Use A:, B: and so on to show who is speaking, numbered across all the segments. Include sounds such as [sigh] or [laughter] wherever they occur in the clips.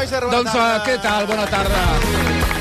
A: César, bona
B: Doncs,
A: tarda.
B: eh, què tal? Bona tarda.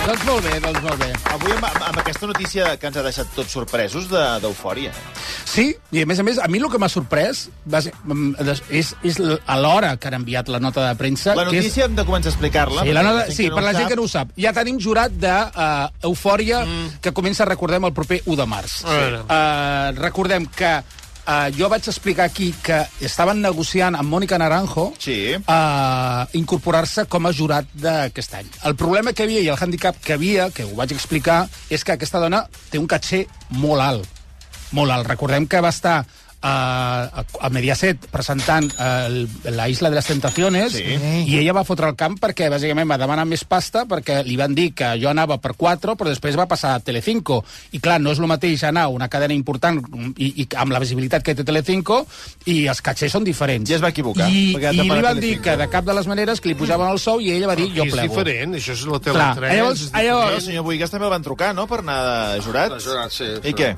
B: Doncs molt bé, doncs molt bé.
A: Avui amb, amb aquesta notícia que ens ha deixat tots sorpresos de- d'eufòria. De,
B: Sí, i a més a més, a mi el que m'ha sorprès va ser, mm, des- és, és l- a l'hora que han enviat la nota de premsa.
A: la
B: Ah, que és,
A: notícia hem de començar a explicar-la.
B: Sí,
A: perquè
B: la nota,
A: gent
B: sí
A: no
B: per
A: ho
B: la gent
A: sap.
B: que no ho sap. Ja tenim jurat d'eufòria de, uh, mm. que comença, recordem, el proper 1 de març.
C: A veure.
B: Uh, recordem que uh, jo vaig explicar aquí que estaven negociant amb Mònica Naranjo
A: Sí.
B: a incorporar-se com a jurat d'aquest any. El problema que hi havia i el hàndicap que hi havia, que ho vaig explicar, és que aquesta dona té un caché molt alt. Molt alt. Recordem que va estar eh, a, a Mediaset presentant eh, el, la Isla de les Tentaciones
A: Sí.
B: i ella va fotre el camp perquè bàsicament va demanar més pasta perquè li van dir que jo anava per 4 però després va passar a Telecinco i clar, no és el mateix anar a una cadena important i, i amb la visibilitat que té Telecinco i els catxers són diferents
A: Ja es va equivocar,
B: i,
A: perquè ha
B: i
A: tapat
B: li
A: a
B: van dir
A: Telecinco.
B: que de cap de les maneres que li pujaven el sou i ella va dir jo
C: és
B: plego.
C: diferent, això és la tele
B: Clar,
C: 3.
B: llavors,
A: No, el
B: llavors,
A: senyor Buigas també el van trucar, no?, per anar de jurat.
D: De jurat, sí,
A: I
D: sí.
A: què?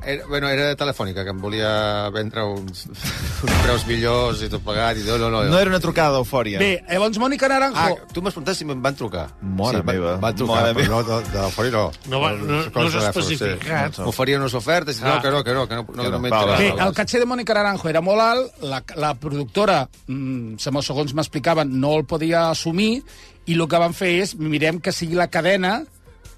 D: Era, bueno, era telefònica, que em volia vendre uns, [laughs] uns preus millors i tot pagat. I no, no, no.
A: No era una trucada d'eufòria.
B: bé, llavors Mònica Naranjo...
D: Ah, tu m'has preguntat si em van trucar.
A: Mare
D: sí, van-
A: meva.
D: Van trucar,
A: Mare
D: però no, de, de l'eufòria no.
C: No va- no- no
D: Els
C: s'ha
D: coses de telèfon, sí.
C: especificat.
D: M'oferien unes ofertes, ah. no,
C: Ah.
D: que no, que no, que no, no,
A: Que
D: no,
A: no,
D: no m'he
A: va, va,
B: Bé,
D: enterat.
B: el caché de Mònica Naranjo era molt alt, la, la productora, mm, segons segons m'explicaven, no el podia assumir, i el que van fer és, mirem que sigui la cadena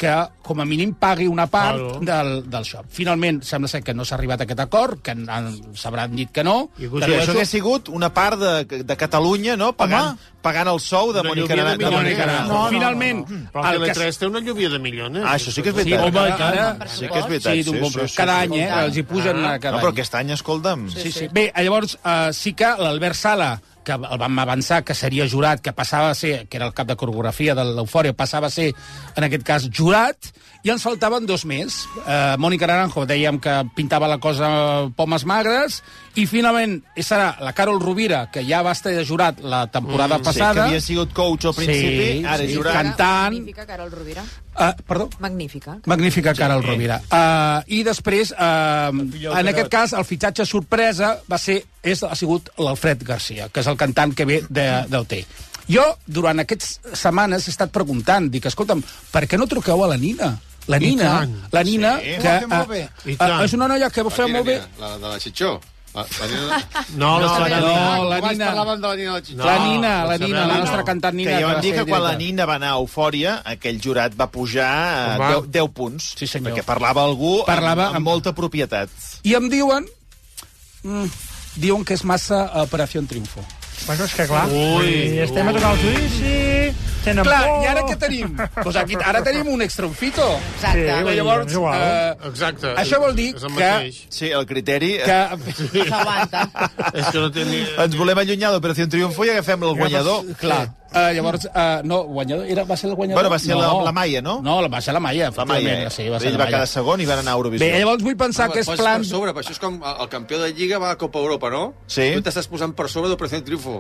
B: que, com a mínim, pagui una part
C: Claro.
B: del, del shop. Finalment, sembla ser que no s'ha arribat a aquest acord, que han- s'hauran dit que no.
C: I
A: Però
C: Això-
A: això hauria sigut una part de, de Catalunya, no?, pagant, pagant el sou de
C: No,
A: Mònica
C: hi havia
A: Naranjo.
C: de
B: de Mònica
C: no,
B: Naranjo.
C: no, no,
B: Finalment,
C: Però el
B: el que
C: Tele3 té una lluvia de milions.
A: Ah, això sí que és
B: Sí,
A: veritat.
B: home, i tant.
A: Sí que és veritat,
B: Sí, d'un
A: sí,
B: bon
A: sí,
B: preu.
A: sí,
B: cada
A: sí.
B: any, eh? Els hi pugen ah, cada
A: No, però
B: any.
A: aquest any, escolta'm...
B: Sí, sí. Bé, llavors, eh, sí que l'Albert Sala, que el vam avançar que seria jurat, que passava a ser, que era el cap de coreografia de l'Eufòria, passava a ser, en aquest cas, jurat, i ens faltaven dos més. Eh, Mònica Naranjo, dèiem que pintava la cosa pomes magres, i finalment serà la Carol Rovira, que ja va estar de jurat la temporada mm,
A: Sí, que
B: passada.
A: havia sigut coach al principi,
B: Sí,
A: ara és
B: sí,
A: jurat.
B: Cantant.
E: Magnífica, Carol Rovira.
B: eh, perdó?
E: Magnífica.
B: Magnífica Carol Rovira. Uh, I després, uh, en aquest cas, el fitxatge sorpresa va ser, és, ha sigut l'Alfred Garcia, que és el cantant que ve de, del T. Jo, durant aquestes setmanes, he estat preguntant, dic, escolta'm, per què no truqueu a la Nina? La
C: I
B: Nina,
C: tant.
B: la Nina,
A: Sí.
B: que
F: Ho fa molt bé.
B: eh,
C: I tant.
B: eh, és una noia que ho fa molt bé.
D: La, de la Xitxó. La, la
B: [laughs]
D: Ah, nina...
C: No, la
B: no,
C: Serena.
B: no, la
D: Abans
B: Nina.
D: parlàvem de la nina de la Xitxó.
C: No,
B: La Nina, la
C: la
B: Nina,
C: Serena
B: la
C: Ah, no.
B: nostra cantant Nina.
A: que ja
B: va
A: van dir
B: ser
A: que quan la
B: directa.
A: Nina va anar a Eufòria, aquell jurat va pujar a
C: Home.
A: 10, 10 punts.
B: Sí, senyor.
A: Perquè parlava algú
B: Parlava
A: amb,
B: amb-
A: amb, molta propietat.
B: I em diuen... Mm, diuen que és massa Operació Triunfo.
F: Bueno, és que clar,
C: Ui,
F: estem a tocar el judici, tenen
B: Clar,
F: por...
B: i ara què tenim? Pues aquí, ara tenim un extronfito.
F: Sí,
E: Exacte.
F: vull dir,
B: Llavors,
F: és igual.
B: eh,
C: Exacte.
B: Això vol dir
C: és el
B: que-
C: mateix.
A: Sí, el criteri... Que...
B: que... [laughs]
E: S'aguanta.
C: És que no té ni...
A: Ens volem allunyar d'Operació Triunfo i agafem el guanyador.
B: Clar. Uh, llavors, uh, no, guanyador, era, va ser el guanyador?
A: Bueno, va ser la- la Maia, no?
B: No, la- va ser la Maia,
A: La Maia,
B: efectivament.
A: eh?
B: Sí, va ser
A: Ell
B: la
A: va
B: Maia.
A: quedar segon i van anar a Eurovisió.
B: Bé, llavors vull pensar
D: Home,
B: que és
D: poses
B: plan...
D: Per sobre, però això és com el, el campió de Lliga va a Copa Europa, no?
A: Sí.
D: Tu t'estàs posant per sobre d'Operació Triunfo.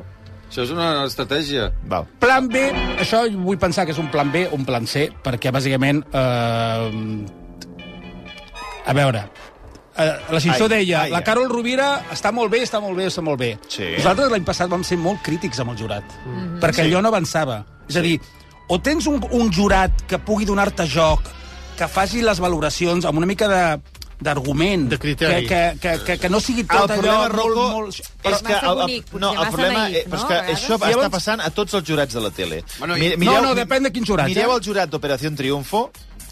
D: Això és una estratègia.
A: Val.
B: Plan B, això vull pensar que és un plan B, un plan C, perquè bàsicament... Eh, a veure, eh, la Xinxó
A: Ai,
B: deia,
A: ai,
B: la
A: ai.
B: Carol Rovira està molt bé, està molt bé, està molt bé.
A: Sí.
B: Nosaltres l'any passat vam ser molt crítics amb el jurat, perquè allò no avançava. És a dir, o tens un, un jurat que pugui donar-te joc, que faci les valoracions amb una mica de d'argument,
C: De criteri.
B: Que, que, que, que, que no sigui tot
A: el problema,
B: allò
A: Rocco,
B: molt, molt...
E: Però
A: és que...
E: massa bonic, potser
A: no, el
E: massa
A: problema...
E: naïf,
A: eh, però és
E: no,
A: que
E: a vegades?
A: això
B: Llavors-
A: està passant a tots els jurats de la tele.
D: Bueno, i-
A: Mi-
B: No, no, depèn de quin jurat,
A: Mireu
B: eh?
A: el jurat d'Operació Triunfo...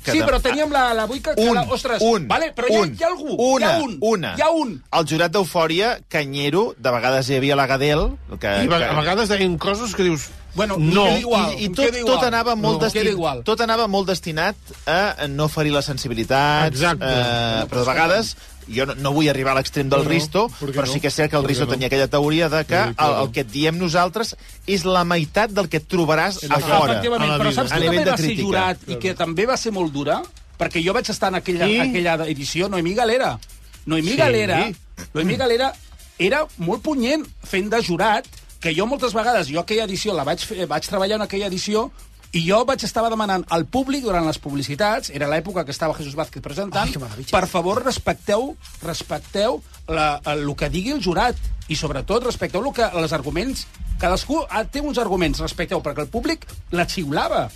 A: que
B: Sí,
A: de-
B: però teníem la, la buica que...
A: un,
B: la, ostres,
A: un,
B: vale, però hi ha,
A: un,
B: hi ha algú,
A: una,
B: hi ha un,
A: una.
B: hi ha un.
A: El jurat d'Eufòria, Canyero, de vegades hi havia la Gadel, que,
C: I va-
A: [laughs] que,
C: a vegades deien coses que dius...
B: Bueno,
C: no.
B: i- igual,
A: i, i
B: em
A: tot,
B: queda igual.
A: tot, anava molt
B: No.
A: destin-
B: Queda igual.
A: tot anava molt destinat a no ferir les sensibilitats,
C: Exacte.
A: eh, però de vegades jo no, no vull arribar a l'extrem del
C: No, no,
A: Risto,
C: per què
A: però
C: no?
A: sí que és cert que el
C: Per què
A: Risto
C: no?
A: tenia aquella teoria de que
C: Sí, clar.
A: el, el que et diem nosaltres és la meitat del que et trobaràs a
B: Ah,
A: fora.
B: efectivament,
C: a la
B: però
C: vida.
B: saps
A: A
B: que
A: nivell
B: també
A: de
B: va ser
A: crítica.
B: jurat i que també va ser molt dura? Perquè jo vaig estar en aquella,
C: Sí.
B: aquella edició, Noemí Galera. Noemí
C: Sí.
B: Galera, Noemí Galera era molt punyent fent de jurat, que jo moltes vegades, jo aquella edició la vaig, fer, vaig treballar en aquella edició i jo vaig estava demanant al públic durant les publicitats, era l'època que estava Jesús Vázquez presentant, Ai, per favor, respecteu respecteu la, el, el que digui el jurat i sobretot respecteu el que, els arguments Cadascú ah, té uns arguments respecte a perquè el públic la xiulava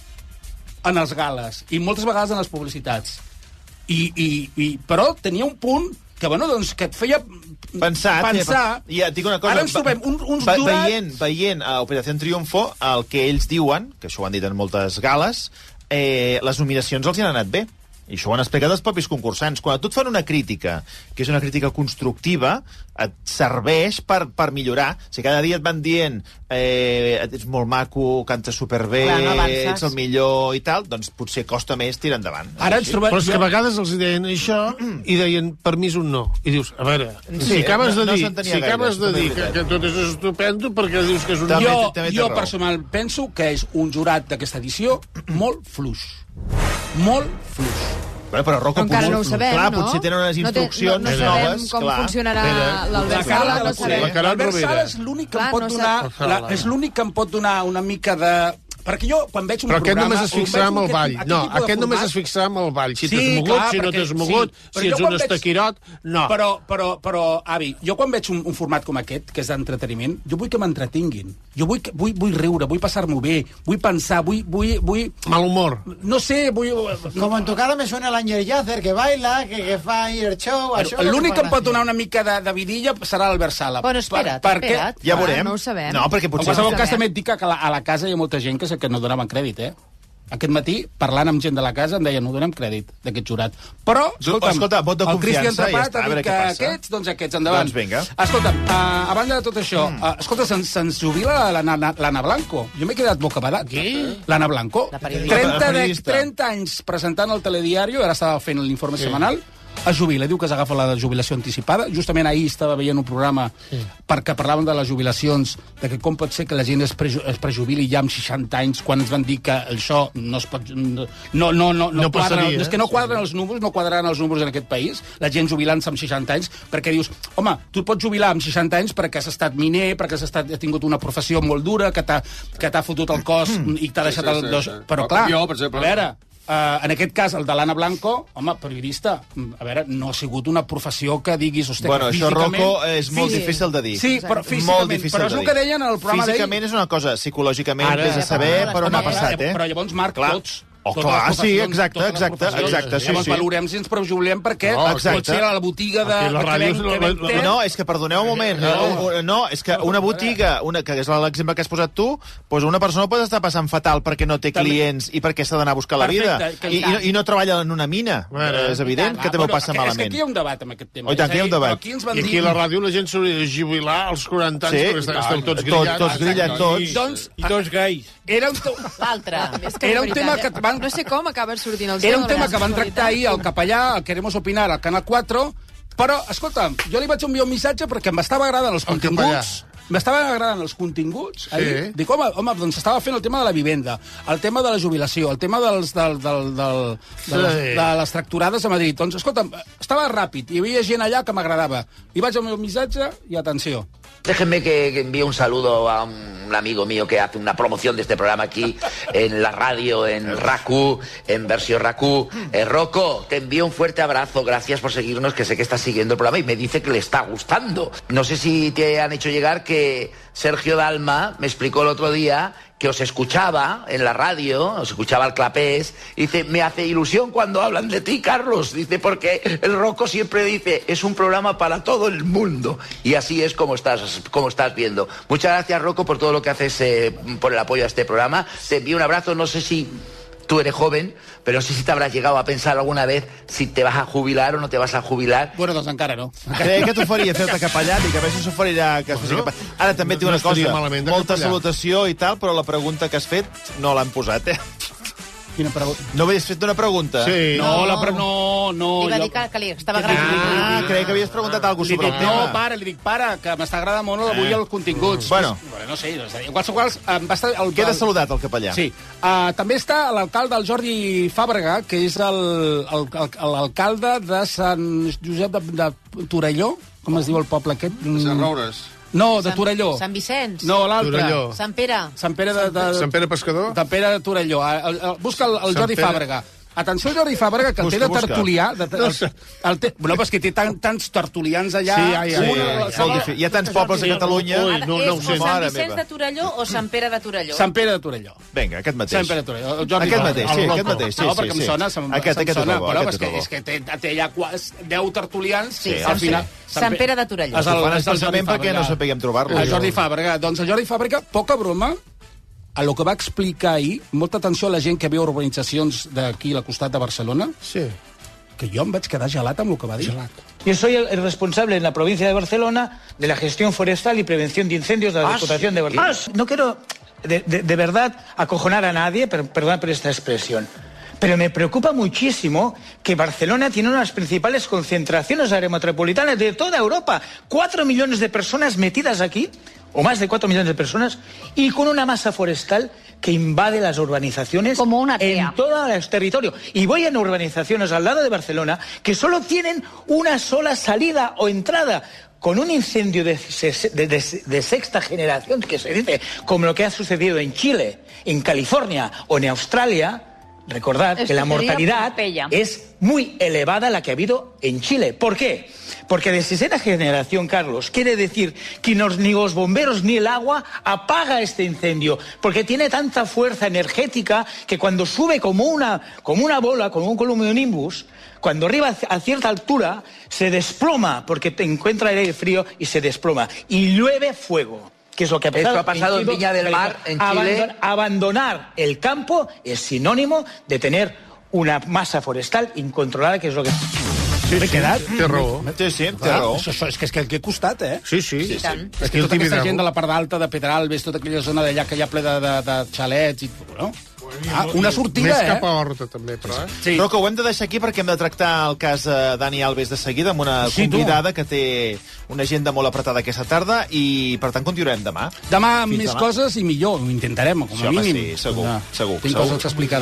B: en els gales i moltes vegades en les publicitats. I, i, i, però tenia un punt que, bueno, doncs, que et feia
A: Pensar...
B: pensar...
A: eh, I ja, et dic una cosa.
B: Ara ens trobem un, uns
A: ve-
B: jurats...
A: Veient, veient a Operació Triunfo, el que ells diuen, que això ho han dit en moltes gales, eh, les nominacions els hi han anat bé. I això ho han explicat els propis concursants. Quan a tu et fan una crítica, que és una crítica constructiva, et serveix per, per millorar. Si cada dia et van dient eh, ets molt maco, cantes superbé,
E: Clar, no avances.
A: ets el millor i tal, doncs potser costa més tirar endavant.
B: Ara ens trobem...
C: Però és que a
B: jo-
C: vegades els hi deien això i deien per mi és un no. I dius, a veure,
A: Sí,
C: si acabes
A: no-
C: de
A: no
C: dir,
A: s'entenia
C: si
A: gaire,
C: acabes de
A: també
C: dir
A: és
C: que,
A: veritat.
C: que tot és estupendo, perquè dius que és un
A: També-
C: no?
B: jo,
A: té- té
B: jo
A: raó.
B: personal penso que és un jurat d'aquesta edició molt fluix. Molt fluix.
A: Bueno, però Rocco,
E: Però encara
A: potser-
E: no ho sabem,
A: clar,
E: no?
A: potser tenen unes
E: No té-
A: instruccions
E: no, no
A: noves.
E: sabem com
A: clar.
E: funcionarà
C: Espera,
E: l'Albert Sala, no
A: potser.
E: sabem.
C: La Caral
B: L'Albert
C: Rovira.
B: Sala és l'únic que
E: Clar,
B: em pot
E: no
B: donar...
C: sap.
B: La, és l'únic que em pot donar una mica de... Perquè jo, quan veig un
C: Però aquest
B: programa...
C: només es
B: o
C: fixarà
B: veig
C: en el
B: aquest-
C: ball. No,
B: tipus de
C: aquest només
B: format-
C: es fixarà en el ball. Si
B: Sí,
C: t'has mogut,
B: clar,
C: si no
B: perquè-
C: t'has mogut,
B: sí. Però
C: si
B: jo
C: ets
B: quan
C: un
B: veig-
C: estaquirot, no.
B: Però, però, però, avi, jo quan veig un, un format com aquest, que és d'entreteniment, jo vull que m'entretinguin. Jo vull, que, vull, vull riure, vull passar-m'ho bé, vull pensar, vull, vull, vull...
C: Mal humor.
B: No sé, vull...
G: Como en tu cara me suena el Anger Yacer, que baila, que, que fa ahí el show... això és el
B: L'únic que em
G: fa
B: pot donar una mica de, de vidilla serà l'Albert Sala.
E: Bueno, espera't,
B: Per- perquè-
E: espera't.
A: Ja
E: Ah,
A: veurem.
E: no ho sabem.
A: No, perquè
B: En
A: potser...
B: qualsevol
E: no
B: cas,
E: sabem.
B: també et dic que a la, a la casa hi ha molta gent que, se- que no donaven crèdit, eh? Aquest matí, parlant amb gent de la casa, em deien, no donem crèdit d'aquest jurat. Però, escolta'm,
A: escolta, vot de
B: el Cristian
A: confiança i ja
B: Trepat
A: està, a
B: ha
A: veure
B: dit
A: què
B: que
A: passa.
B: aquests, doncs aquests, endavant.
A: Doncs vinga.
B: Escolta'm, uh, a banda de tot això, mm. uh, escolta, se'ns se jubila la- la- la- l'Anna Blanco. Jo m'he quedat bocabadat. Qui? L'Anna Blanco.
E: La periodista.
B: 30,
A: La
B: de,
A: periodista.
B: 30 anys presentant el telediario, ara estava fent l'informe sí. setmanal, es jubila, diu que s'agafa la jubilació anticipada. Justament ahir estava veient un programa sí. perquè parlaven de les jubilacions, de que com pot ser que la gent es, preju es prejubili ja amb 60 anys quan ens van dir que això no es pot... No, no, no, no,
C: No
B: quadra,
C: passaria,
B: és que no quadren els números, no quadraran els números en aquest país, la gent jubilant-se amb 60 anys, perquè dius, home, tu et pots jubilar amb 60 anys perquè has estat miner, perquè has, estat, has tingut una professió molt dura, que t'ha que t'ha fotut el cos i t'ha deixat
D: Mm. sí,
B: el...
D: sí,
B: dos...
D: sí.
B: Però
D: Com
B: clar,
D: jo, per exemple.
B: a veure, Uh, en aquest cas, el de l'Anna Blanco, home, periodista, mm, a veure, no ha sigut una professió que diguis... Hosti,
A: Bueno,
B: que
A: això,
B: físicament-
A: Rocco, és molt
E: Sí.
A: difícil de dir.
B: Sí, però físicament.
A: Molt difícil
B: però és
A: de
B: el
A: dir.
B: que deien en el programa d'ahir.
A: Físicament és una cosa, psicològicament
C: Ara-
A: Ara, és a saber
E: Ara-
A: per on ha
E: Ara-
A: passat, eh?
B: Però llavors, Marc,
A: Clar.
B: tots...
A: Oh,
B: totes
A: clar,
B: les
A: sí,
B: professions,
A: exacte,
B: totes les
A: exacte,
B: professions.
A: exacte, sí,
B: Llavors
A: sí.
B: valorem si ens prejubilem perquè
A: No,
B: pot
A: exacte.
B: ser a la botiga de...
C: Aquí la
B: que
C: ràdio
B: ven-
C: és la-
B: que ven
C: la-
B: té.
A: No, és que perdoneu un moment. No, no és que una botiga, una, que és l'exemple que has posat tu, doncs una persona pot estar passant fatal perquè no té
B: També.
A: clients i perquè s'ha d'anar a buscar la vida.
B: Perfecte, que-
A: I, i, no, I no treballa en una mina.
C: Bueno.
A: és evident
B: Clar,
A: que també ho
B: ah, però
A: passa
B: que- És que
A: malament.
B: aquí hi ha un debat amb aquest tema.
A: Oh, i tant,
B: És
A: que hi ha un
B: a dir,
A: debat.
B: però Aquí ens van
C: I aquí
B: dir...
C: a la ràdio la gent s'hauria de jubilar als 40 anys,
A: Sí,
C: perquè estan, estan tots
A: tot-
C: grillats.
A: tots grillen, tots.
B: Doncs,
C: I tots gais.
B: era un... to-
E: L'altre. És que
B: Ah, Era
E: de
B: un
E: veritat,
B: tema que et van-
E: No sé com acaben sortint els
B: Era
E: dos
B: un
E: de
B: tema
E: la
B: que van tractar ahir al capellà, al Queremos Opinar, al Canal 4, però, escolta'm, jo li vaig enviar un missatge perquè m'estava agradant els
C: Al
B: continguts... M'estaven agradant els continguts. Ahir. Dic, home, home, doncs estava fent el tema de la vivenda, el tema de la jubilació, el tema dels, del, del, del, de, les,
C: Sí.
B: de les tracturades a Madrid. Doncs, escolta'm, estava ràpid, hi havia gent allà que m'agradava. Li vaig enviar un missatge i atenció.
H: Déjenme que, que envíe un saludo a un amigo mío que hace una promoción de este programa aquí en la radio, en Raku, en Versión Raku. Eh, Rocco, te envío un fuerte abrazo. Gracias por seguirnos, que sé que estás siguiendo el programa y me dice que le está gustando. No sé si te han hecho llegar que Sergio Dalma me explicó el otro día que os escuchaba en la radio, os escuchaba al clapés, y dice, me hace ilusión cuando hablan de ti, Carlos, dice, porque el Rocco siempre dice, es un programa para todo el mundo, y así es como estás, como estás viendo. Muchas gracias, Rocco, por todo lo que haces, eh, por el apoyo a este programa. Te envío un abrazo, no sé si tú eres joven, pero no sé si te habrás llegado a pensar alguna vez si te vas a jubilar o no te vas a jubilar.
B: Bueno, doncs encara no.
A: Creia que t'oferia fer-te capellà, dic, a veure si s'oferirà que es faci
C: Bueno,
A: capellà. Ara també et dic
C: no
A: una
C: estaria
A: cosa,
C: malament de
A: molta
C: capellà.
A: salutació i tal, però la pregunta que has fet no l'han posat, eh?
B: Quina pregunta?
A: No havies fet una pregunta?
C: Sí.
B: No, la pre... no, no.
E: Li va
B: jo-
E: dir que, que li estava
A: Ah,
E: agradant.
A: creia que havies preguntat alguna
B: Li
A: sobre
B: dic,
A: el
B: no,
A: tema.
B: pare, li dic, pare, que m'està agradant molt avui eh. els continguts.
A: Bueno.
B: Bueno, no sé, no sé. En qualsevol cas, em va estar... El,
A: Queda
B: el-
A: saludat el capellà.
B: Sí. Uh, també està l'alcalde, el Jordi Fàbrega, que és el- el- el- l'alcalde de Sant Josep de, de Torelló, com es diu el poble aquest?
D: Les
B: Mm.
D: roures.
B: No, de Torelló.
E: Sant Vicenç.
B: No, l'altre.
C: Torelló.
E: Sant Pere.
B: Sant Pere de... de...
C: Sant Pere Pescador?
B: Sant Pere de Torelló. Ah, el- el- Busca el, el
C: Sant
B: Jordi
C: Pere-
B: Fàbrega. Atenció a Jordi Fàbrega, que el
A: Busca,
B: té de
A: busca.
B: tertulià... De, el, el té, no, però és que té tan, tants tertulians allà...
C: Sí, ai, ai,
B: Un-
C: ai, ai.
A: És molt difícil. Hi ha tants pobles a Catalunya...
C: Ui,
I: Ara,
C: no,
I: és
C: no
I: o
C: ho sé.
I: Sant
A: Mare
I: Vicenç
A: meva.
I: de Torelló o Sant Pere de Torelló.
B: Sant Pere de Torelló.
A: Vinga, aquest mateix.
B: Sant Pere Torelló. El Jordi
A: Aquest
B: Torelló,
A: mateix,
B: el
A: sí,
B: loco.
A: aquest mateix. Sí,
B: no, perquè
A: sí,
B: em
A: sí.
B: sona, se'm,
A: Aquest,
B: se'm
A: aquest
B: sona,
A: és bo,
B: però
A: aquest és
B: és que,
A: bo.
B: és que té, té allà quas, 10 tertulians.
I: Sí,
B: al
I: Sant
B: final-
I: Pere- Sant Pere de Torelló.
B: És
A: Ho
B: el-
A: fan
B: és el
A: expressament
B: Jordi
A: perquè no
B: Fàbrega.
A: sapiguem trobar-lo.
B: El Jordi Fàbrega. Doncs el Jordi Fàbrega, poca broma, a lo que va explicar ahir, molta atenció a la gent que veu urbanitzacions d'aquí, al costat de Barcelona,
C: Sí.
B: que jo em vaig quedar gelat amb el que va dir. Gelat.
J: Yo soy el, el responsable en la provincia de Barcelona de la gestión forestal y prevención de incendios de la
H: Ah,
J: Diputación
H: sí.
J: de Barcelona. No quiero de, de- de verdad acojonar a nadie, pero, perdón por esta expresión. Pero me preocupa muchísimo que Barcelona tiene una de las principales concentraciones aerometropolitanas de toda Europa. Cuatro millones de personas metidas aquí, o más de cuatro millones de personas, y con una masa forestal que invade las urbanizaciones
I: Como una tea.
J: en todo el territorio. Y voy en urbanizaciones al lado de Barcelona que solo tienen una sola salida o entrada con un incendio de, se- de- de- de sexta generación, que se dice, como lo que ha sucedido en Chile, en California o en Australia. Recordad
I: Esto
J: que la
I: sería
J: mortalidad
I: Pompeya.
J: es muy elevada la que ha habido en Chile. ¿Por qué? Porque de sexta generación, Carlos, quiere decir que nos- ni los bomberos ni el agua apaga este incendio, porque tiene tanta fuerza energética que cuando sube como una, como una bola, como un columnio de nimbus, cuando arriba a cierta altura se desploma, porque te encuentra el aire frío y se desploma, y llueve fuego. Que es lo que ha
H: Esto
J: pasado,
H: ha pasado en
J: Cuba,
H: Viña del Mar, en
J: abandon-
H: Chile.
J: abandonar el campo es sinónimo de tener una masa forestal incontrolada, que es lo que...
C: Sí, M'he quedat? Té raó.
A: Sí, sí, té raó.
B: Això, això, és que és que aquí he costat, eh?
C: Sí, sí. sí,
I: tant.
B: Que
C: És que el
B: tota aquesta
C: Tibidabo...
B: gent de la part alta de Pedralbes, tota aquella zona d'allà que hi ha ple de, de, de xalets i... No? Ah, una sortida,
C: Més
B: eh?
C: cap a Horta, també, però, eh?
B: Sí.
A: Roca, ho hem de deixar aquí perquè hem de tractar el cas eh, Dani Alves de seguida amb una
B: Sí, tu.
A: convidada que té una agenda molt apretada aquesta tarda i, per tant, continuarem demà.
B: Demà amb
A: Fins
B: més
A: demà.
B: coses i millor, ho intentarem, com a
A: Sí, home,
B: mínim.
A: sí, segur, segur,
B: Tinc
A: segur.
B: coses a explicar demà.